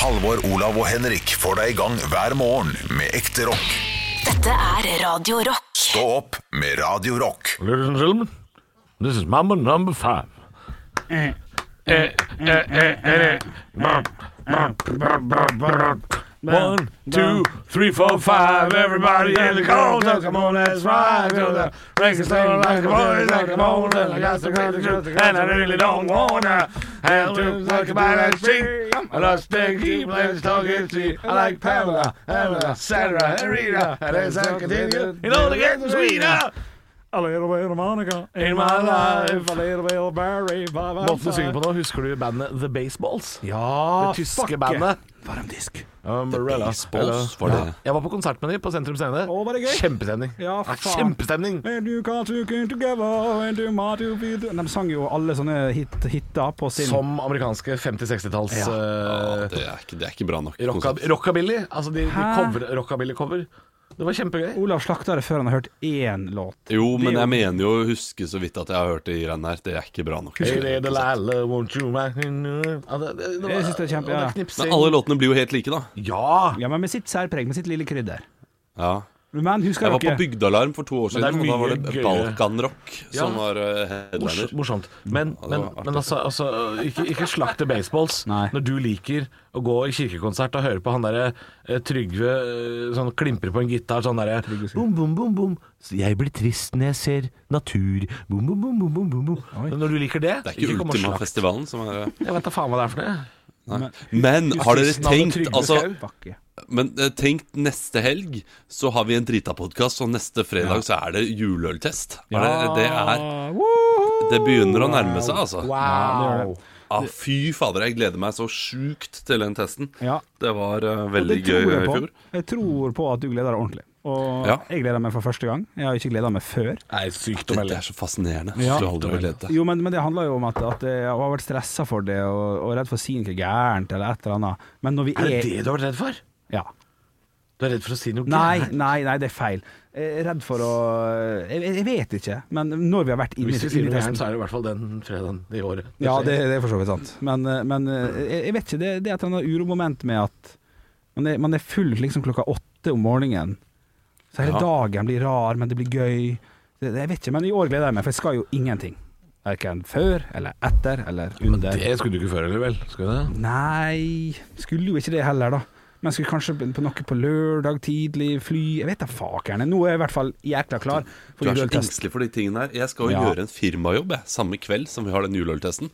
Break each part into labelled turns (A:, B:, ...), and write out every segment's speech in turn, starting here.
A: Halvor, Olav og Henrik får deg i gang hver morgen med ekte rock.
B: Dette er Radio Rock.
A: Stå opp med Radio Rock.
C: Ladies and gentlemen, this is mama number five. Oh, One, two, three, four, five. Everybody in the corner, come on, let's ride. To the breaking stone like a boy, like a bone. And I got some great truth, and I really don't wanna have to look about that street. I lost the key, let's talk it see. I like Pamela, Pamela, Sandra, and Rita. And as I continue, you know, to get the sweeter.
D: A little bit of Monica
C: In my life.
D: A little bit of Barry
E: Måten du synger på nå, husker du bandet The Baseballs?
D: Ja,
E: det tyske bandet.
F: Varmdisk.
E: Umbrella.
F: Baseballs var det.
E: Jeg var på konsert med dem på Sentrum Scene.
D: Å, var det gøy?
E: Kjempestemning.
D: Ja, for faen.
E: Kjempestemning!
D: And you can't look in together and you might you be the- De sang jo alle sånne hit, hitter på sin
E: Som amerikanske 50-60-talls
D: Ja.
E: eh,
F: Det er ikke, det er ikke bra nok.
E: rocka-
F: konsept.
E: rockabilly. Altså de, de
D: Hæ?
E: cover, rockabilly-cover. Det var kjempegøy.
D: Olav slakta det før han har hørt én låt.
F: Jo, men jeg mener jo å huske så vidt at jeg har hørt det i renn her. Det er ikke bra nok.
E: Hey, little Lala, won't you mind? Ja, det, det, det var-
D: Jeg synes det er kjempe-
E: og det
D: ja.
E: knipsing.
F: Men alle låtene blir jo helt like, da.
E: Ja!
D: Ja, men med sitt særpreg, med sitt lille krydder.
F: Ja.
D: Men husker
F: Jeg var på
D: dere
F: Bygdealarm for to år
E: Men det er
F: siden, og da var
E: mye
F: det
E: gøyere.
F: balkanrock som
E: Ja.
F: var eh, headliner.
E: Mors- Morsomt. Men,
F: det
E: men,
F: var artig.
E: men altså, altså ikke, ikke slakt til baseballs
D: Nei.
E: når du liker å gå i kirkekonsert og høre på han derre eh, Trygve eh, sånn klimprer på en gitar sånn derre Bom, bom, bom, bom. Så Jeg blir trist når jeg ser natur. Bom, bom, bom, bom, bom, bom, bom. Men Når du liker det
F: Det er ikke
E: kom og slakt.
F: Ultima-festivalen som er eh,
E: Jeg vet da faen hva det er for noe.
F: Nei. Men har dere
E: Justisen hadde
F: tenkt
E: Trygve
F: altså,
E: Skau.
D: Bakke.
F: Men eh, tenk neste helg så har vi en drita-podkast, og neste fredag så er det juleøltest. Er det, det er Det begynner å nærme seg, altså.
E: Wow.
F: Ah, fy fader, jeg gleder meg så sjukt til den testen.
D: Ja.
F: Det var eh,
D: Og
F: veldig
D: det
F: gøy
D: tror
F: i
D: jeg på.
F: fjor.
D: Jeg tror på at du gleder deg ordentlig. Og
F: Ja.
D: jeg gleder meg for første gang. Jeg har ikke gleda meg før.
E: Nei, sykt å
F: Dette
E: melde.
F: er så fascinerende.
D: Ja.
F: Du har aldri gledet deg.
D: Jo, men, men det handler jo om at, at jeg har vært stressa for det, og, og redd for å si noe gærent eller et eller annet. Men når vi
E: Er
D: er,
E: det det du har vært redd for?
D: Ja.
E: Du er redd for å si noe
D: Nei,
E: gærent?
D: nei, nei, det er feil. Jeg er redd for å Jeg, jeg vet ikke. Men når vi har vært inne
E: Hvis
D: i
E: vi sier noe
D: testen
E: gærent, så er det i hvert fall den fredagen i året.
D: Ja, det, det er for så vidt sant. Men, eh, men eh, jeg, jeg vet ikke. Det, det er et eller annet uromoment med at man er, man er full liksom klokka åtte om morgenen. Så hele
F: Ja.
D: dagen blir rar, men det blir gøy. Det, det, jeg vet ikke, men i år gleder jeg meg, for jeg skal jo ingenting. Verken før eller etter eller under.
E: Det skulle du ikke før heller, vel? Skulle du det?
D: Nei, skulle jo ikke det heller, da. Men skulle kanskje på noe på lørdag tidlig, fly Jeg vet da fakerne. Nå er jeg i hvert fall jækla klar.
F: Du er så
D: juleøltest.
F: engstelig for de tingene her. Jeg skal jo
D: Ja.
F: gjøre en firmajobb jeg, samme kveld som vi har den juleøltesten.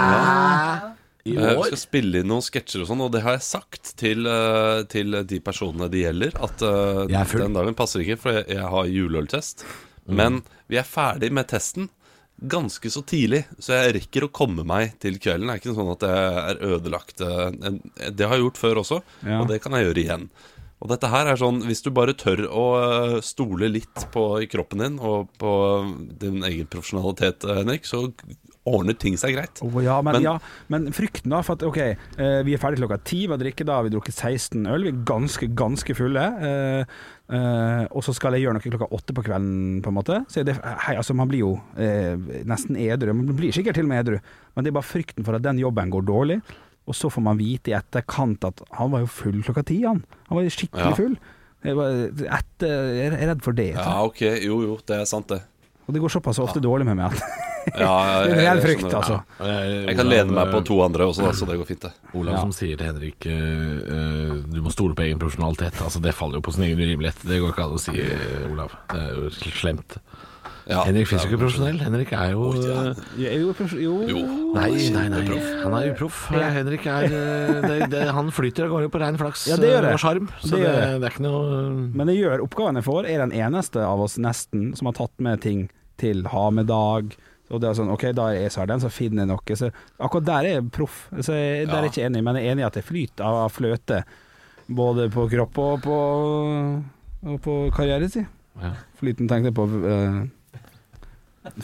E: I
F: Eh, Vi
E: år?
F: skal spille inn noen sketsjer og sånn, og det har jeg sagt til, eh, til de personene det gjelder, at eh,
E: Jeg er full. Mm.
F: den dagen passer ikke, for jeg, jeg har juleøltest. Men vi er ferdig med testen ganske så tidlig, så jeg rekker å komme meg til kvelden. Det er ikke sånn at jeg er ødelagt. eh, en- Det har jeg gjort før også,
D: Ja.
F: og det kan jeg gjøre igjen. Og dette her er sånn, hvis du bare tør å eh, stole litt på kroppen din og på eh, din egen profesjonalitet, eh, Henrik, så ordner ting seg greit.
D: Å, ja, men,
F: Men-
D: ja, men frykten, da. For at OK, eh, vi er ferdig klokka ti med å drikke. Da har vi drukket 16 øl. Vi er ganske, ganske fulle. eh, eh, og så skal jeg gjøre noe klokka åtte på kvelden, på en måte. Så er det, hei, altså, man blir jo eh, nesten edru. Man blir sikkert til og med edru, men det er bare frykten for at den jobben går dårlig. Og så får man vite i etterkant at han var jo full klokka ti, han. Han var jo skikkelig
F: Ja.
D: full. Jeg, var, etter, jeg er redd for det.
F: Ja, ok, jo jo, det er sant det.
D: Og det går såpass ofte dårlig med meg at
F: Ja,
D: Det er en reell frykt,
F: skjønner.
D: altså.
F: Ja. Jeg kan lene meg på to andre også, da, så det går fint, det.
E: Olav som sier til Henrik eh, eh, du må stole på egen profesjonalitet. Altså, det faller jo på sin egen urimelighet. Det går ikke an å si, eh, Olav. Det er jo slemt.
F: Ja.
E: Henrik finnes jo ikke profesjonell. Henrik er jo eh,
D: Jeg er jo, jo.
F: Jo.
E: Nei, nei, nei. Han er uproff. Eh, Henrik er eh, det, det, Han flyter av gårde på rein flaks
D: Ja, det gjør
E: eh,
D: jeg.
E: og sjarm. Så
D: Det
E: det,
D: gjør
E: det,
D: jeg.
E: er ikke noe
D: Men jeg gjør oppgaven jeg får, er den eneste av oss nesten som har tatt med ting til ha med dag. Og det er sånn, ok, da er jeg så er den, så finner jeg noe. Så akkurat der er jeg proff. Så jeg, der er jeg ikke enig, men jeg er enig i at jeg flyter av fløte. Både på kropp og på, og på karriere, si.
E: Ja.
D: Flyten tenkte jeg på eh, uh,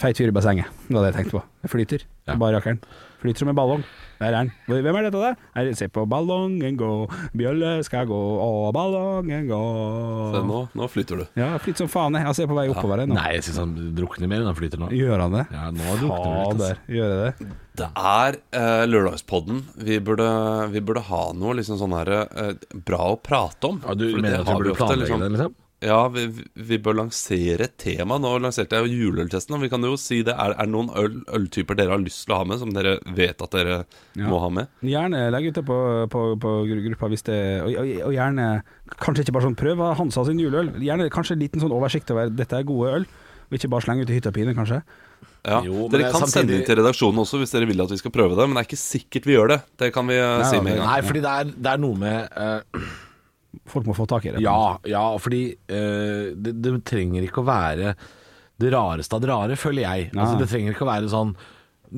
D: Feit fyr i bassenget, det var det jeg tenkte på. Jeg flyter.
E: Ja.
D: Bare rakkeren. Flyter som en ballong. Der er den. Hvem er dette der? Nei, se på ballongen gå, bjølle skal gå, og ballongen gå.
F: Se, nå, nå flytter du.
D: Ja, flyter som faen, jeg. Altså, jeg er på vei oppover her nå.
E: Nei, jeg syns han drukner mer enn han flyter nå.
D: Gjør han det?
E: Ja, nå drukner han litt. altså.
D: Fader, gjør jeg det?
F: Det er eh, lørdagspodden. Vi burde, vi burde ha noe liksom sånn her eh, bra å prate om.
E: Ja, du
F: For det
E: mener at
F: har
E: vi burde
F: ofte,
E: planlegge
F: liksom.
E: det, liksom?
F: Ja, vi, vi bør lansere et tema. Nå lanserte jeg jo juleøltesten, og vi kan jo si det. Er, er det noen øl, øltyper dere har lyst til å ha med, som dere vet at dere må ha med?
D: Gjerne legg ut det på, på, på gru- gruppa hvis det og, og, og gjerne Kanskje ikke bare sånn prøv hva Hansa sin juleøl. Gjerne kanskje en liten sånn oversikt over dette er gode øl, og ikke bare slenge ut i hytta og pine, kanskje.
F: Ja.
E: Jo, men
F: dere
E: det er
F: kan sende
E: samtidig-
F: inn til redaksjonen også hvis dere vil at vi skal prøve det, men det er ikke sikkert vi gjør det. Det kan vi eh, si
D: nei,
F: med en gang.
E: Nei, fordi det er, det er noe med eh,
D: Folk må få tak i det.
E: Ja, ja fordi eh, det, det trenger ikke å være det rareste av det rare, føler jeg. Altså,
D: Nei.
E: det trenger ikke å være sånn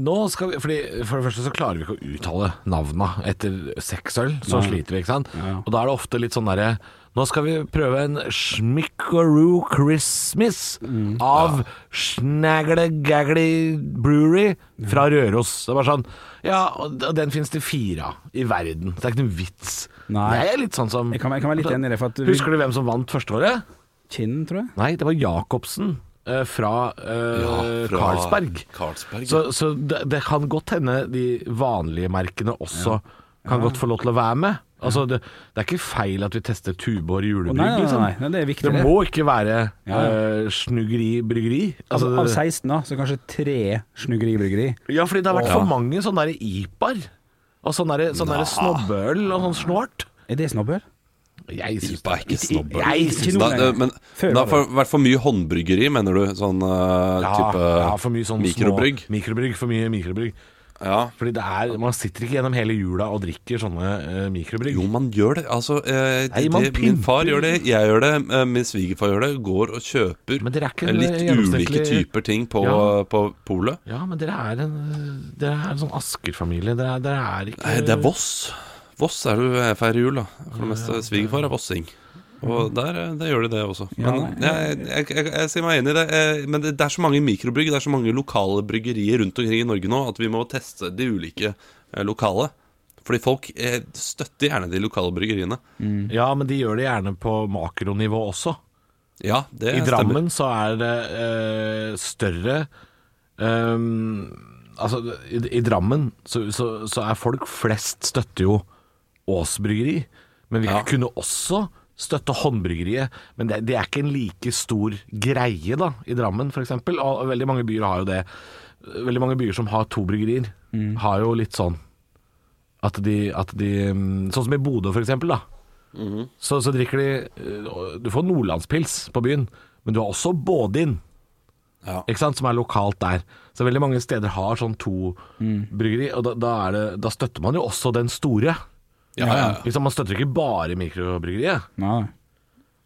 E: nå skal vi, fordi For det første så klarer vi ikke å uttale navna etter seks øl. Så sliter vi, ikke sant. Og da er det ofte litt sånn derre Nå skal vi prøve en Schmickaroo Christmas
D: Mm.
E: av Snagle Gaggly Brewery fra Røros. Det er bare sånn Ja, og og den finnes det fire av i verden. Så det er ikke noen vits.
D: Nei.
E: Jeg er litt sånn som
D: Jeg kan, jeg kan være litt enig i det, for at vi,
E: Husker du hvem som vant første året?
D: Kinn, tror jeg.
E: Nei, det var Jacobsen eh, fra, eh,
F: Ja, fra
E: Carlsberg.
F: Carlsberg,
E: Så, så det, det kan godt hende de vanlige merkene også kan godt få lov til å være med. Altså, det, det er ikke feil at vi tester Tuborg
D: Å, nei,
E: julebrygg,
D: nei, nei,
E: liksom.
D: nei, nei, det er viktig.
E: Det
D: det.
E: må ikke være
D: Ja, ja.
E: eh, snuggeri bryggeri.
D: Av-
E: Altså,
D: av 16, da, så kanskje tre snuggeribryggeri.
E: ja, fordi det har vært
D: Åh.
E: for mange sånne der IPAR. Og sånn der, sånn der snobbeøl og sånn snålt.
D: Er det snobbøl?
E: Jeg syns
F: IPA er ikke snobbeøl.
E: Jeg
D: Ikke
E: syns
D: noe
F: Da,
D: lenger.
F: det, men
D: Før
F: det
D: var
F: har for- vært for mye håndbryggeri, mener du? Sånn eh, type
E: ja, for mye sånn
F: mikrobrygg?
E: Små, mikrobrygg, for mye mikrobrygg.
F: Ja.
E: Fordi det er, man sitter ikke gjennom hele jula og drikker sånne eh, mikrobrygg.
F: Jo, man gjør det. Altså, eh,
E: Nei,
F: det-
E: man
F: det, min
E: pimper.
F: far gjør det, jeg gjør det, eh, min svigerfar gjør det. Går og kjøper
E: Men dere er ikke
F: eh, litt
E: gjennomsnittlig-
F: ulike typer ting på,
E: Ja.
F: på polet.
E: Ja, men dere er en, dere er en sånn Asker-familie. Dere, er- dere er ikke
F: Nei, Eh, det er Voss. Voss er du jeg feirer jul, da. For det meste. Svigerfar er vossing.
E: Mm.
F: Og der, eh, der gjør de det også. Men jeg, jeg, jeg, jeg, sier meg enig i det. eh, Men det, det er så mange mikrobrygg, det er så mange lokale bryggerier rundt omkring i Norge nå, at vi må teste de ulike eh, lokale. Fordi folk eh, støtter gjerne de lokale bryggeriene.
E: Ja, men de gjør det gjerne på makronivå også.
F: Ja, det
E: I
F: stemmer.
E: Drammen så er det eh, større eh, Altså, i, i Drammen så, så, så er folk flest støtter jo Ås bryggeri, men vi
F: Ja.
E: kunne også støtte håndbryggeriet. Men det, det er ikke en like stor greie da, i Drammen f.eks., og veldig mange byer har jo det. Veldig mange byer som har to bryggerier,
F: Mm.
E: har jo litt sånn at de, at de mm, Sånn som i Bodø for eksempel da så, så drikker de eh, Du får nordlandspils på byen, men du har også Bådin,
F: Ja.
E: ikke sant, som er lokalt der. Så veldig mange steder har sånn to
F: Mm.
E: bryggeri, og da, da, er det, da støtter man jo også den store.
F: Ja, ja, ja.
E: Ikke sant, man støtter ikke bare mikrobryggeriet.
D: Nei.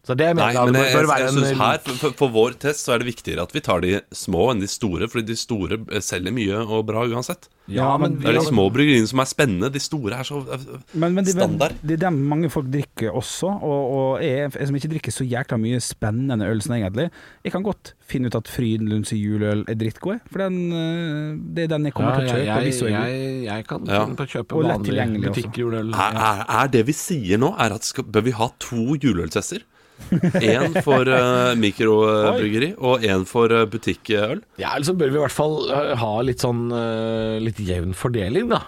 E: Så det mener
F: Nei,
E: jeg
F: men
E: da, det
F: jeg, jeg,
E: bør være
F: jeg
E: en
F: synes her, for, for, for vår test, så er det viktigere at vi tar de små enn de store, fordi de store eh, selger mye og bra uansett.
E: Ja, men
F: Det er de
E: vi-
F: små bryggeriene som er spennende, de store er så eh,
D: Men, men det, men
F: standard.
D: det er dem mange folk drikker også, og, og jeg, jeg som ikke drikker så jækla mye spennende øl sånn egentlig, jeg kan godt finne ut at Frydenlunds juleøl er drittgod, jeg, for den, øh, det er den jeg kommer
E: ja,
D: til å kjøpe.
E: jeg,
D: hvis så
E: jeg,
D: er god.
E: jeg, jeg kan
F: Ja.
E: finne på å kjøpe
D: Og lett
E: vanlig
D: tilgjengelig også.
E: butikkjuleøl.
F: Er, er, er det vi sier nå, er at skal, bør vi ha to juleøltester? Én for eh, mikrobryggeri og én for eh, butikkøl.
E: Ja, eller så bør vi i hvert fall eh, ha litt sånn eh, litt jevn fordeling, da.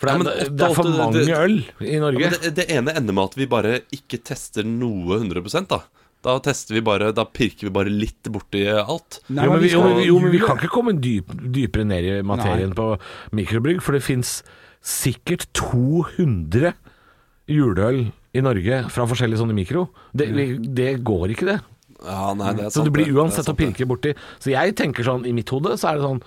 E: For det
F: Ja,
E: er,
F: men
E: det,
F: åtte-
E: det er for
F: åtte-
E: mange
F: det-
E: øl i Norge.
F: Ja, men det, det ene ender med at vi bare ikke tester noe 100 da. Da tester vi bare, da pirker vi bare litt borti alt.
D: Nei,
E: jo, men
D: men
E: vi,
D: vi
E: jo,
D: skal-
E: men vi- jo, men vi kan ikke komme dyp, dypere ned i materien på mikrobrygg, for det fins sikkert 200 juleøl i Norge fra forskjellige sånne mikro. Det, vi- det går ikke, det.
F: Ja, nei, det er
E: Så
F: sant,
E: du blir
F: det.
E: uansett
F: Det er
E: å
F: sant, det.
E: pirke borti. Så jeg tenker sånn, i mitt hode så er det sånn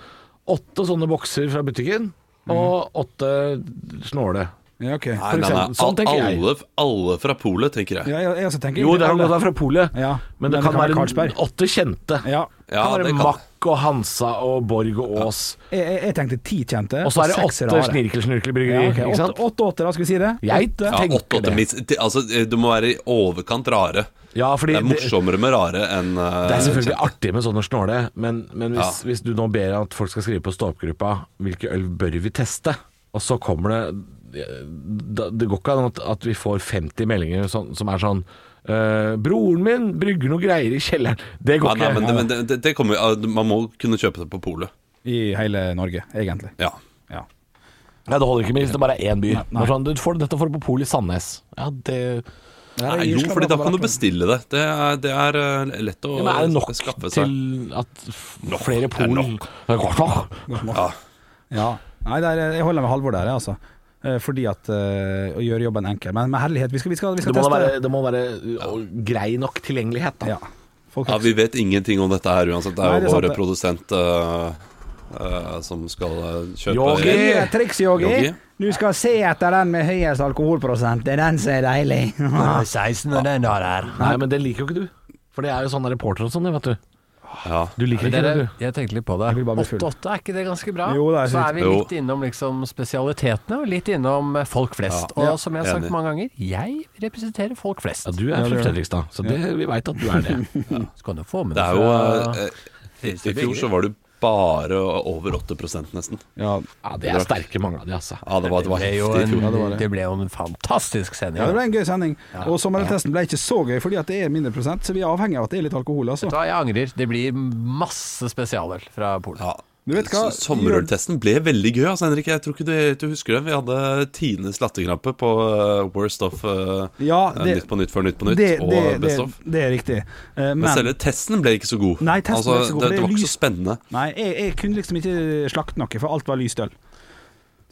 E: åtte sånne bokser fra butikken,
D: Mhm.
E: og åtte snåle.
D: Ja, ok.
F: Nei,
D: For
F: nei, nei.
D: eksempel-
E: Sånn tenker jeg.
F: Alle, alle fra polet, tenker jeg.
D: Ja, jeg, jeg også tenker
E: Jo, det har
D: egentlig
E: gått av fra polet,
D: Ja,
E: men det kan være
D: Carlsberg.
E: åtte kjente.
D: Ja.
E: kan
F: det
E: være
F: kan-
E: Mack Munch og Hansa og Borg og Aas.
D: Jeg, jeg, jeg tenkte ti kjente.
E: Og så er det
D: seks
E: åtte
D: rare. Ja,
E: snirkelsnurkelbryggerier.
D: ok,
E: ikke sant?
D: åtte- Åtte, åtte, da skal vi si det?
E: Jeg
D: Åtte.
F: Ja,
E: tenker
F: åtte, åtte,
E: det.
F: mis- det- altså, du må være i overkant rare.
E: Ja, fordi
F: Det er morsommere med rare enn eh,
E: Det er selvfølgelig
F: kjente.
E: artig med sånne snåle, men, men hvis, hvis du nå ber at folk skal skrive på stå-opp-gruppa hvilke øl bør vi teste, og så kommer det da- Det går ikke an at, at vi får 50 meldinger som, som er sånn eh, 'Broren min brygger noe greier i kjelleren'. Det
F: Ja,
E: går
F: nei,
E: ikke.
F: men det, men det, det, det kommer, ja, man må kunne kjøpe det på polet.
D: I hele Norge, egentlig.
F: Ja.
D: Ja.
E: Nei, det holder ikke med hvis det bare er én by.
D: Nei, nei.
E: Det er Sånn, du får, dette får du på Polet i Sandnes. Ja, det,
F: Nei, jo, fordi da kan du bestille det. Det er, det er eh, lett å
E: ja, men er det nok
F: skaffe seg.
E: til at f- flere
F: det er
E: pol
F: nok.
E: Det er godt nok.
F: Ja.
D: Ja. Nei, der, jeg holder med Halvor der, jeg, altså. Eh, Fordi at eh, Å gjøre jobben enkel. Men med herlighet, vi skal, vi skal, vi
E: Det
D: skal
E: må da
D: teste.
E: være, det må være uh, grei nok tilgjengelighet, da.
D: Ja. Folk
F: Ja, vi vet ingenting om dette her uansett. Det
D: Nei, det
F: er jo
D: er sant
F: vår
D: det.
F: produsent eh, eh, som skal eh, kjøpe
E: Yogi!
D: Nye triks, Yogi.
F: Yogi.
D: Du skal se etter den med høyest alkoholprosent. Det er den som er deilig.
G: 16 og den der er.
E: Nei, men det liker jo ikke du. For det er jo sånne reportere og sånn, det, vet du.
F: Ja.
E: Du liker
G: Men
E: ikke det,
G: dere,
E: du.
G: jeg tenkte litt på det.
D: Jeg vil bare bli full.
G: 8-8, er ikke det ganske bra?
D: Jo, det er
G: så er
D: fint.
G: vi
F: Jo.
G: litt innom liksom spesialitetene, og litt innom eh, folk flest.
D: Ja.
G: Og som jeg har sagt
F: Enig.
G: mange ganger, jeg representerer folk flest.
E: Ja,
G: Mm,
E: du er
D: det
E: fra
D: er-
E: Fredrikstad, så det, vi veit at du er det.
G: Så kan du få med
F: Det er
G: deg
F: jo
G: fra-
F: eh, eh, I fjor så var det bare over 8 nesten.
D: Ja.
E: Ja, det er sterke mange av de, altså.
F: Ja, det var, det var
G: ble jo
F: heftig i fjor.
G: en,
D: var det.
G: det ble jo en fantastisk sending.
D: Ja, det ble en gøy sending. Og sommertesten ble ikke så gøy, fordi at det er mindre prosent, så vi er avhengig av at det er litt alkohol. Altså.
G: Vet du hva, jeg angrer. Det blir masse spesialøl fra Polen.
F: Ja.
D: Du vet hva,
F: S- Sommerøltesten ble veldig gøy, altså, Henrik. Jeg tror ikke du, du husker det. Vi hadde tidenes latterkrampe på eh, Worst of eh,
D: Ja,
F: eh,
D: det-
F: Nytt på nytt før Nytt på nytt
D: det,
F: og
D: det, det,
F: Best of.
D: det er riktig. Eh,
F: Men,
D: men-
F: selve testen ble ikke så god.
D: Nei, testen
F: altså,
D: ble ikke så god, for
F: det,
D: det
F: det var
D: er
F: ikke
D: lys.
F: så spennende.
D: Nei, jeg, jeg kunne liksom ikke slakte noe, for alt var lyst øl.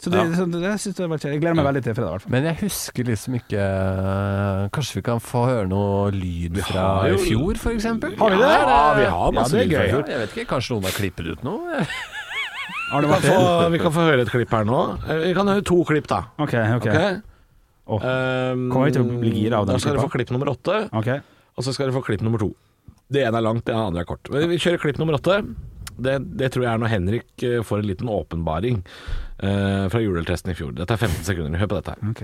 D: Så det,
F: Ja.
D: så det, jeg synes det var kjedelig. Jeg gleder meg veldig til fredag, i hvert fall.
G: Men jeg husker liksom ikke eh, Kanskje vi kan få høre noe lyd fra
E: har jo-
G: i fjor, f.eks.?
D: Har vi det?
E: Ja, vi har masse lyd fra
D: ja, det er
E: i
D: gøy.
E: fjor.
G: Jeg vet ikke, kanskje noen har klippet ut noe?
D: Har det
E: Vi kan,
D: vært
E: få,
D: det?
E: vi kan få høre et klipp her nå. Eh, Vi kan høre to klipp, da.
D: OK. ok,
E: Ok?
D: Åh.
E: Um,
D: Kommer vi til å bli gira av
E: Da
D: den
E: skal dere
D: klippa?
E: få klipp nummer åtte,
D: ok
E: og så skal dere få klipp nummer to. Det ene er langt, det andre er kort. Men Vi kjører klipp nummer åtte. Det, det tror jeg er når Henrik eh, får en liten åpenbaring eh, fra juleøltesten i fjor. Dette er 15 sekunder. Hør på dette her.
D: ok.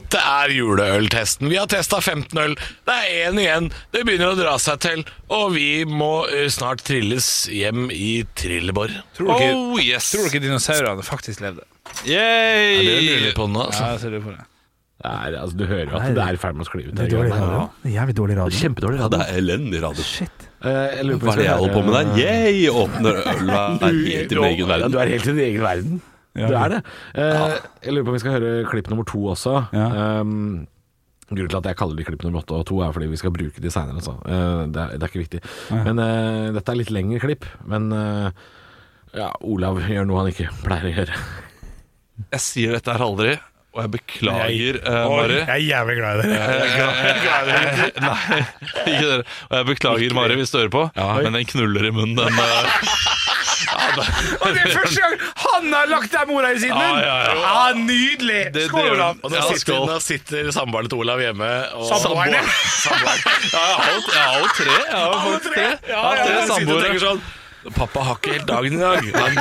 E: Dette er juleøltesten. Vi har testa 15 øl. Det er én igjen. Det begynner å dra seg til. Og vi må eh, snart trilles hjem i trillebår.
H: Tror du ikke-
E: oh yes!
H: Tror du ikke dinosaurene faktisk levde?
E: Ja, det lurer litt på nå, altså.
H: Ja, jeg ser det på det.
E: Det er, altså, du hører jo at det er i ferd med å skli ut.
D: Det er dårlig radio. Det er jævlig dårlig radio.
E: Kjempedårlig
F: Ja, det
E: radio.
F: er elendig radio.
E: Eh, jeg lurer på om vi
D: altså,
F: Hva er det jeg
E: skal
F: holder på med
E: høre-
F: der? Yay! Åpner øla er helt i min egen
E: Ja,
F: verden.
E: Du er helt i din egen verden. Du er det. Eh, jeg lurer på om vi skal høre klipp nummer to også.
D: Ja.
E: Um, grunnen til at jeg kaller de klipp nummer åtte og to, er fordi vi skal bruke de seinere. Altså. Eh, det, er- det er ikke viktig. Men eh, dette er litt lengre klipp. Men eh, ja, Olav gjør noe han ikke pleier å gjøre.
F: Jeg sier dette her aldri, og jeg beklager, eh,
H: Oi,
F: Mari.
H: jeg er jævlig glad i dere.
F: Nei, ikke dere. Og jeg beklager, Mari, hvis du hører på, men den knuller i munnen, den. eh.
H: Og det er første gang han har lagt den orda i sin munn!
F: Ja, ja, ja.
H: nydelig!
F: Det- det
H: Skål,
F: gjør
H: Olav!
F: den. Og da Ja, sitter- skål. da
E: sitter samboeren til Olav hjemme og
F: Ja,
H: Samboerne.
F: jeg har jo- jeg har jo tre. Jeg har jo
H: Alle
F: faktisk
H: tre.
F: tre.
H: Ja,
F: Jeg har tre
H: ja, jeg sitter og
F: samboere.
H: tenker sånn,
F: Pappa har ikke helt dagen i dag. Men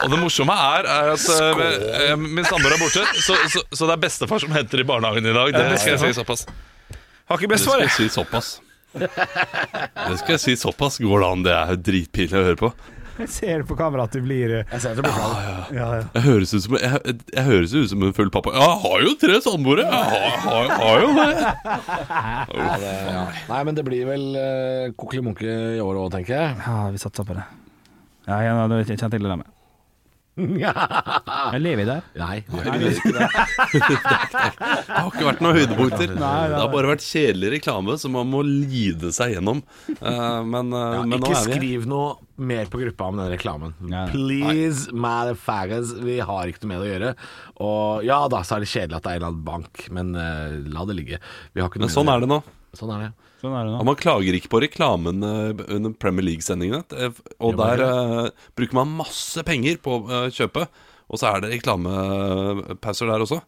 F: og det morsomme er, er at eh, eh, min samboer er borte, så, så, så det er bestefar som henter i barnehagen i dag. Det skal jeg si såpass.
H: Har ikke
F: Det skal
H: besvaret.
F: jeg si såpass. Det skal jeg si såpass. Går det an? Det er jo dritpinlig å høre på.
D: Jeg ser på kamera at du blir eh, Jeg ser det blir ja, ja.
F: Jeg høres ut som, jeg, jeg høres ut som en full pappa. Ja, Jeg har jo tre samboere! Jeg har, har, har jo det!
E: Nei, men det blir vel uh, kokkelimunke i år òg, tenker jeg.
D: ja, vi satser på det. Ja, jeg, jeg, jeg kjente til det der med Jeg lever i det.
E: Nei.
F: Det har ikke vært noen høydepunkter. Det har bare vært kjedelig reklame som man må lide seg gjennom. Eh, Men, eh,
E: Ja,
F: men nå
E: ikke
F: er vi her.
E: skriv noe mer på gruppa om den reklamen.
D: Nei.
E: Please, motherfuckers, vi har ikke noe med det å gjøre. Og ja da, så er det kjedelig at det er en eller annen bank, men eh, la det ligge. Vi har ikke noe
F: Men sånn er det nå.
E: Sånn er det.
D: Sånn er det
F: Ja,
D: nå.
F: man klager ikke på reklamen eh, under Premier League-sendingene. eh, Og
E: Gjør man
F: der eh, bruker man masse penger på eh, kjøpet, og så er det reklamepauser der også.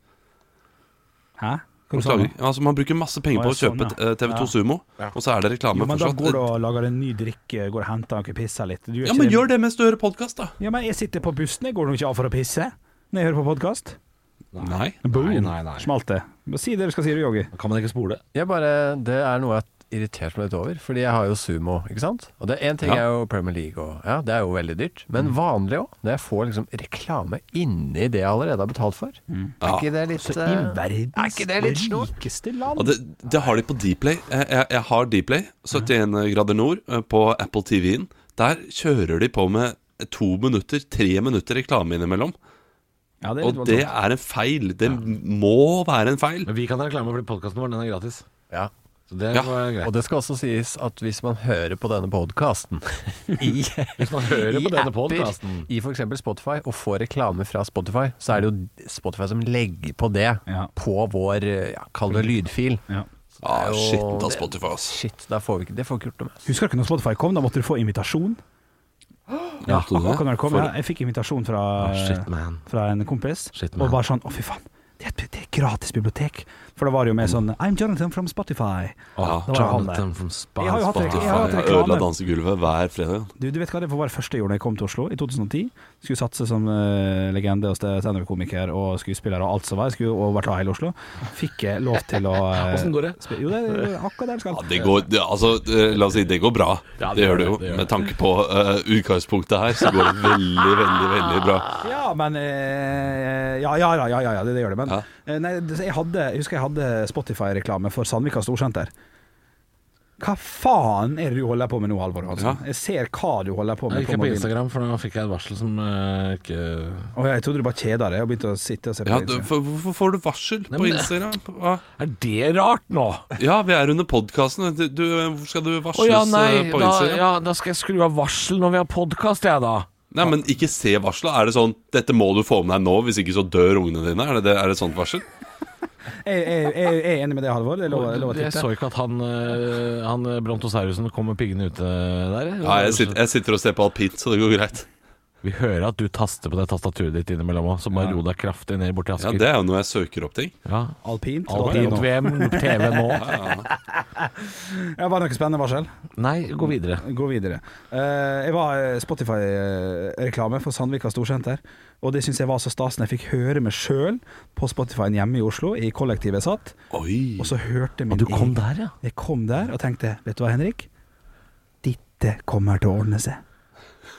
D: Hæ? Hva du sa
F: Klager.
D: nå?
F: Ja, altså, man bruker masse penger
D: Sånn, Å,
F: på å
D: ja, sånn,
F: kjøpe
D: ja.
F: eh, TV2
D: Ja.
F: Sumo, og så er det reklame
D: Jo, men da
F: fortsatt.
D: går du og lager en ny drikke, går og henter noe, pisser litt. Du gjør
F: ja,
D: ikke
F: men gjør det mens du hører podkast, da.
D: Ja, men jeg sitter på bussen, jeg går nå ikke av for å pisse når jeg hører på podkast.
F: Nei.
H: Nei, nei, nei.
D: Smalt det. Si det du skal si, du, Yogi.
H: Da kan man ikke spole.
G: Jeg bare, det er noe jeg har irritert meg litt over, fordi jeg har jo sumo, ikke sant? Og det én ting
F: Ja.
G: er jo Premier League og Ja, det er jo veldig dyrt, men vanlig òg. Når jeg får liksom reklame inni det jeg allerede har betalt for. Er ikke det litt
D: I
G: eh, Er ikke det litt
D: verdens
G: snålt?
D: rikeste land.
F: Og det, det har de på Dplay. Jeg, jeg, jeg har Dplay, 71 grader nord, eh, på Apple TV-en. Der kjører de på med to minutter, tre minutter reklame innimellom.
D: Ja, det er litt
F: Og det
D: voldsomt.
F: er en feil. Det må være en feil.
E: Men vi kan ha reklame fordi podkasten vår den er gratis.
G: Ja.
E: Så det
F: Ja.
E: må være greit.
G: Og det skal også sies at hvis man hører på denne podkasten i,
E: Hvis man hører
G: i
E: på denne
G: apper,
E: podkasten
G: i f.eks. Spotify, og får reklame fra Spotify, så er det jo Spotify som legger på det
D: Ja.
G: på vår, eh, ja, kall det lydfil.
D: Ja.
F: Ah,
G: Det er jo-
F: shit, da Spotify, ass.
G: Shit, da får vi ikke, det får vi ikke gjort noe med.
D: Husker du ikke når Spotify kom? Da måtte du få invitasjon. Ja,
E: Måtte du det? Ah,
D: akkurat når det kom. Ja, jeg fikk invitasjon fra,
E: Shit, man.
D: fra en kompis,
E: Shit, man.
D: og bare sånn Å, fy faen. Det er, et, det er et gratis bibliotek. For da var det jo med sånn I'm Jonathan from Spotify.
E: Åh,
D: det var han der.
E: Ah, Jonathan from Spa-
D: Jeg har jo hatt
E: Spotify.
D: Jeg har hatt
F: Jeg
D: reklame.
F: ødela dansegulvet hver fredag.
D: Du, du vet hva det var det første jeg gjorde da jeg kom til Oslo, i 2010. Skulle satse som eh, legende og stand- standup-komiker og skuespiller og alt som var. Jeg skulle overta hele Oslo. Fikk jeg lov til å eh,
E: Hvordan går det?
D: spi- Jo, det er akkurat der det skal.
F: Ja, det går, det, altså, eh, la oss si det går bra.
E: Ja, det
F: det
E: gjør
F: gjør det
E: det,
F: jo.
E: det gjør
F: Med tanke på eh, utgangspunktet her, så går det veldig, veldig veldig bra.
D: Ja, men eh, Ja, ja, ja, ja, ja, ja det, det gjør det. Men
F: Ja.
D: eh, nei, det- jeg, hadde, jeg husker jeg hadde Spotify-reklame for Sandvika Storsenter. Hva faen er det du holder på med nå, Halvor? Hansen?
F: Ja.
D: Jeg ser hva du holder på med
E: Jeg
D: på
E: gikk på
D: mobilen.
E: Instagram, for da fikk jeg et varsel som eh, ikke Er
D: Å, jeg trodde du bare kjeda deg og begynte å sitte og se på
F: Ja, du,
D: Instagram.
F: for, hvorfor får du varsel på
E: men-
F: Instagram? Ah,
E: det rart nå?
F: Ja, vi er under podkasten. Du, hvorfor skal du varsles
E: Å ja,
F: eh,
E: nei.
F: på
E: Da,
F: Instagram?
E: ja, da skal jeg skru av varsel når vi har podkast, jeg, da.
F: Nei, men ikke se varselet. Er det sånn 'Dette må du få med deg nå, hvis ikke så dør ungene dine'? Er det, det, er det et sånt varsel?
D: Jeg, jeg, jeg, jeg er enig med det, Halvor. Det er lov, lov å
E: jeg
D: titte.
E: så ikke at han, eh, han eh, brontosaurusen kom med piggene ute der. eh.
F: Ja, jeg sitter, jeg sitter og ser på alpint, så det går greit.
E: Vi hører at du taster på det tastaturet ditt innimellom òg, så bare ro deg kraftig ned borti
F: Ja,
E: Asker.
F: Det er jo når jeg søker opp ting.
E: Ja.
D: Alpint.
E: Alpint VM, TV nå.
D: Ja, var det noe spennende varsel?
E: Nei, gå videre.
D: Gå videre. Eh, jeg var eh, Spotify-reklame for Sandvika Storsenter, og det syns jeg var så stas når jeg fikk høre meg sjøl på Spotifyen hjemme i Oslo, i kollektivet jeg satt,
F: Oi.
D: og så hørte min
E: Og du kom
D: egen-
E: der, ja.
D: Jeg kom der og tenkte, vet du hva, Henrik? Dette kommer til å ordne seg.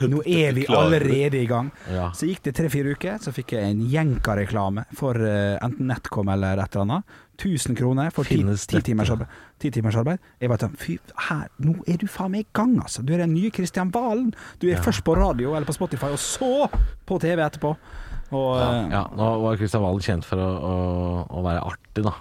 D: Nå er vi
F: klarer du.
D: allerede i gang.
E: Ja.
D: Så gikk det tre-fire uker, så fikk jeg en jenka-reklame for eh, enten NetCom eller et eller annet. 1000 kroner for ti,
E: Finnes
D: ti,
E: dette?
D: timers arbeid, ti timers arbeid. Jeg bare sånn, fy, her, nå er du faen meg i gang, altså. Du er den nye Kristian Valen. Du er først på radio eller på Spotify, og så på TV etterpå. Og, eh, ja,
E: Ja, nå var Kristian Valen kjent for å, å, å være artig, da.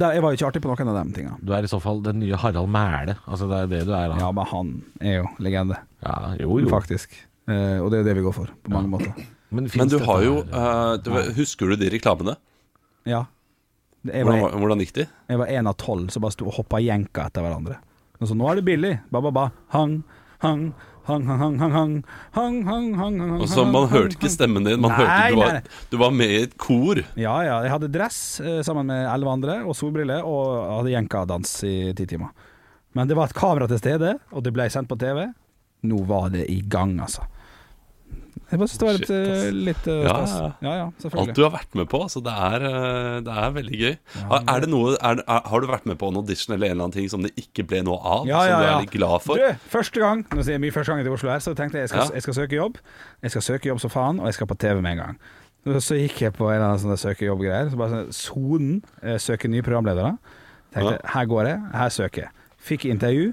D: da, jeg var jo ikke artig på noen av de tinga.
E: Du er i så fall den nye Harald Mæhle. Altså, det er det du er, da.
D: Ja, men han er jo legende,
E: Ja, jo, jo.
D: faktisk. Eh, og det er jo det vi går for, på mange måter.
E: Men,
F: Men
E: finnes
F: du
E: dette
F: har jo
E: her?
F: eh, du, Husker du de reklamene?
D: Ja. Jeg
F: Hvordan,
D: var,
F: var- hvordan gikk de?
D: jeg var en av tolv som bare sto og hoppa jenka etter hverandre. Og så, nå er det billig. Ba, ba, ba. Hang, hang, hang, hang, hang, hang, hang, hang, hang, hang, hang,
F: Og så
D: hang,
F: Altså, Man
D: hang,
F: hørte ikke
D: hang.
F: stemmen din. Man
D: Nei,
F: hørte
D: nei.
F: du var, du var med i et kor.
D: Ja, ja. Jeg hadde dress eh, sammen med elleve andre, og solbriller, og hadde jenka-dans i ti timer. Men det var et kamera til stede, og det ble sendt på TV. Nå var det i gang, altså. Jeg bare synes det var litt,
F: Shit, ass.
D: eh, litt eh,
F: Ja,
D: stas.
F: ja.
D: Ja, ja,
F: Alt
D: selvfølgelig.
F: du har vært med på. Altså, det, er, eh, det er veldig gøy. Har- er det noe, er, er, har du vært med på en audition eller en eller annen ting som det ikke ble noe av?
D: Ja, ja,
F: Som du
D: ja.
F: er litt glad for?
D: Du, første gang Nå sier jeg mye første gang til Oslo her, så tenkte jeg jeg skal,
F: Ja.
D: jeg skal søke jobb. Jeg skal søke jobb som faen, og jeg skal på TV med en gang. Så, så gikk jeg på en eller annen sånn der søke jobb-greier. Så bare sånn Sonen eh, søker nye programledere. Tenkte her går jeg, her søker jeg. Fikk intervju.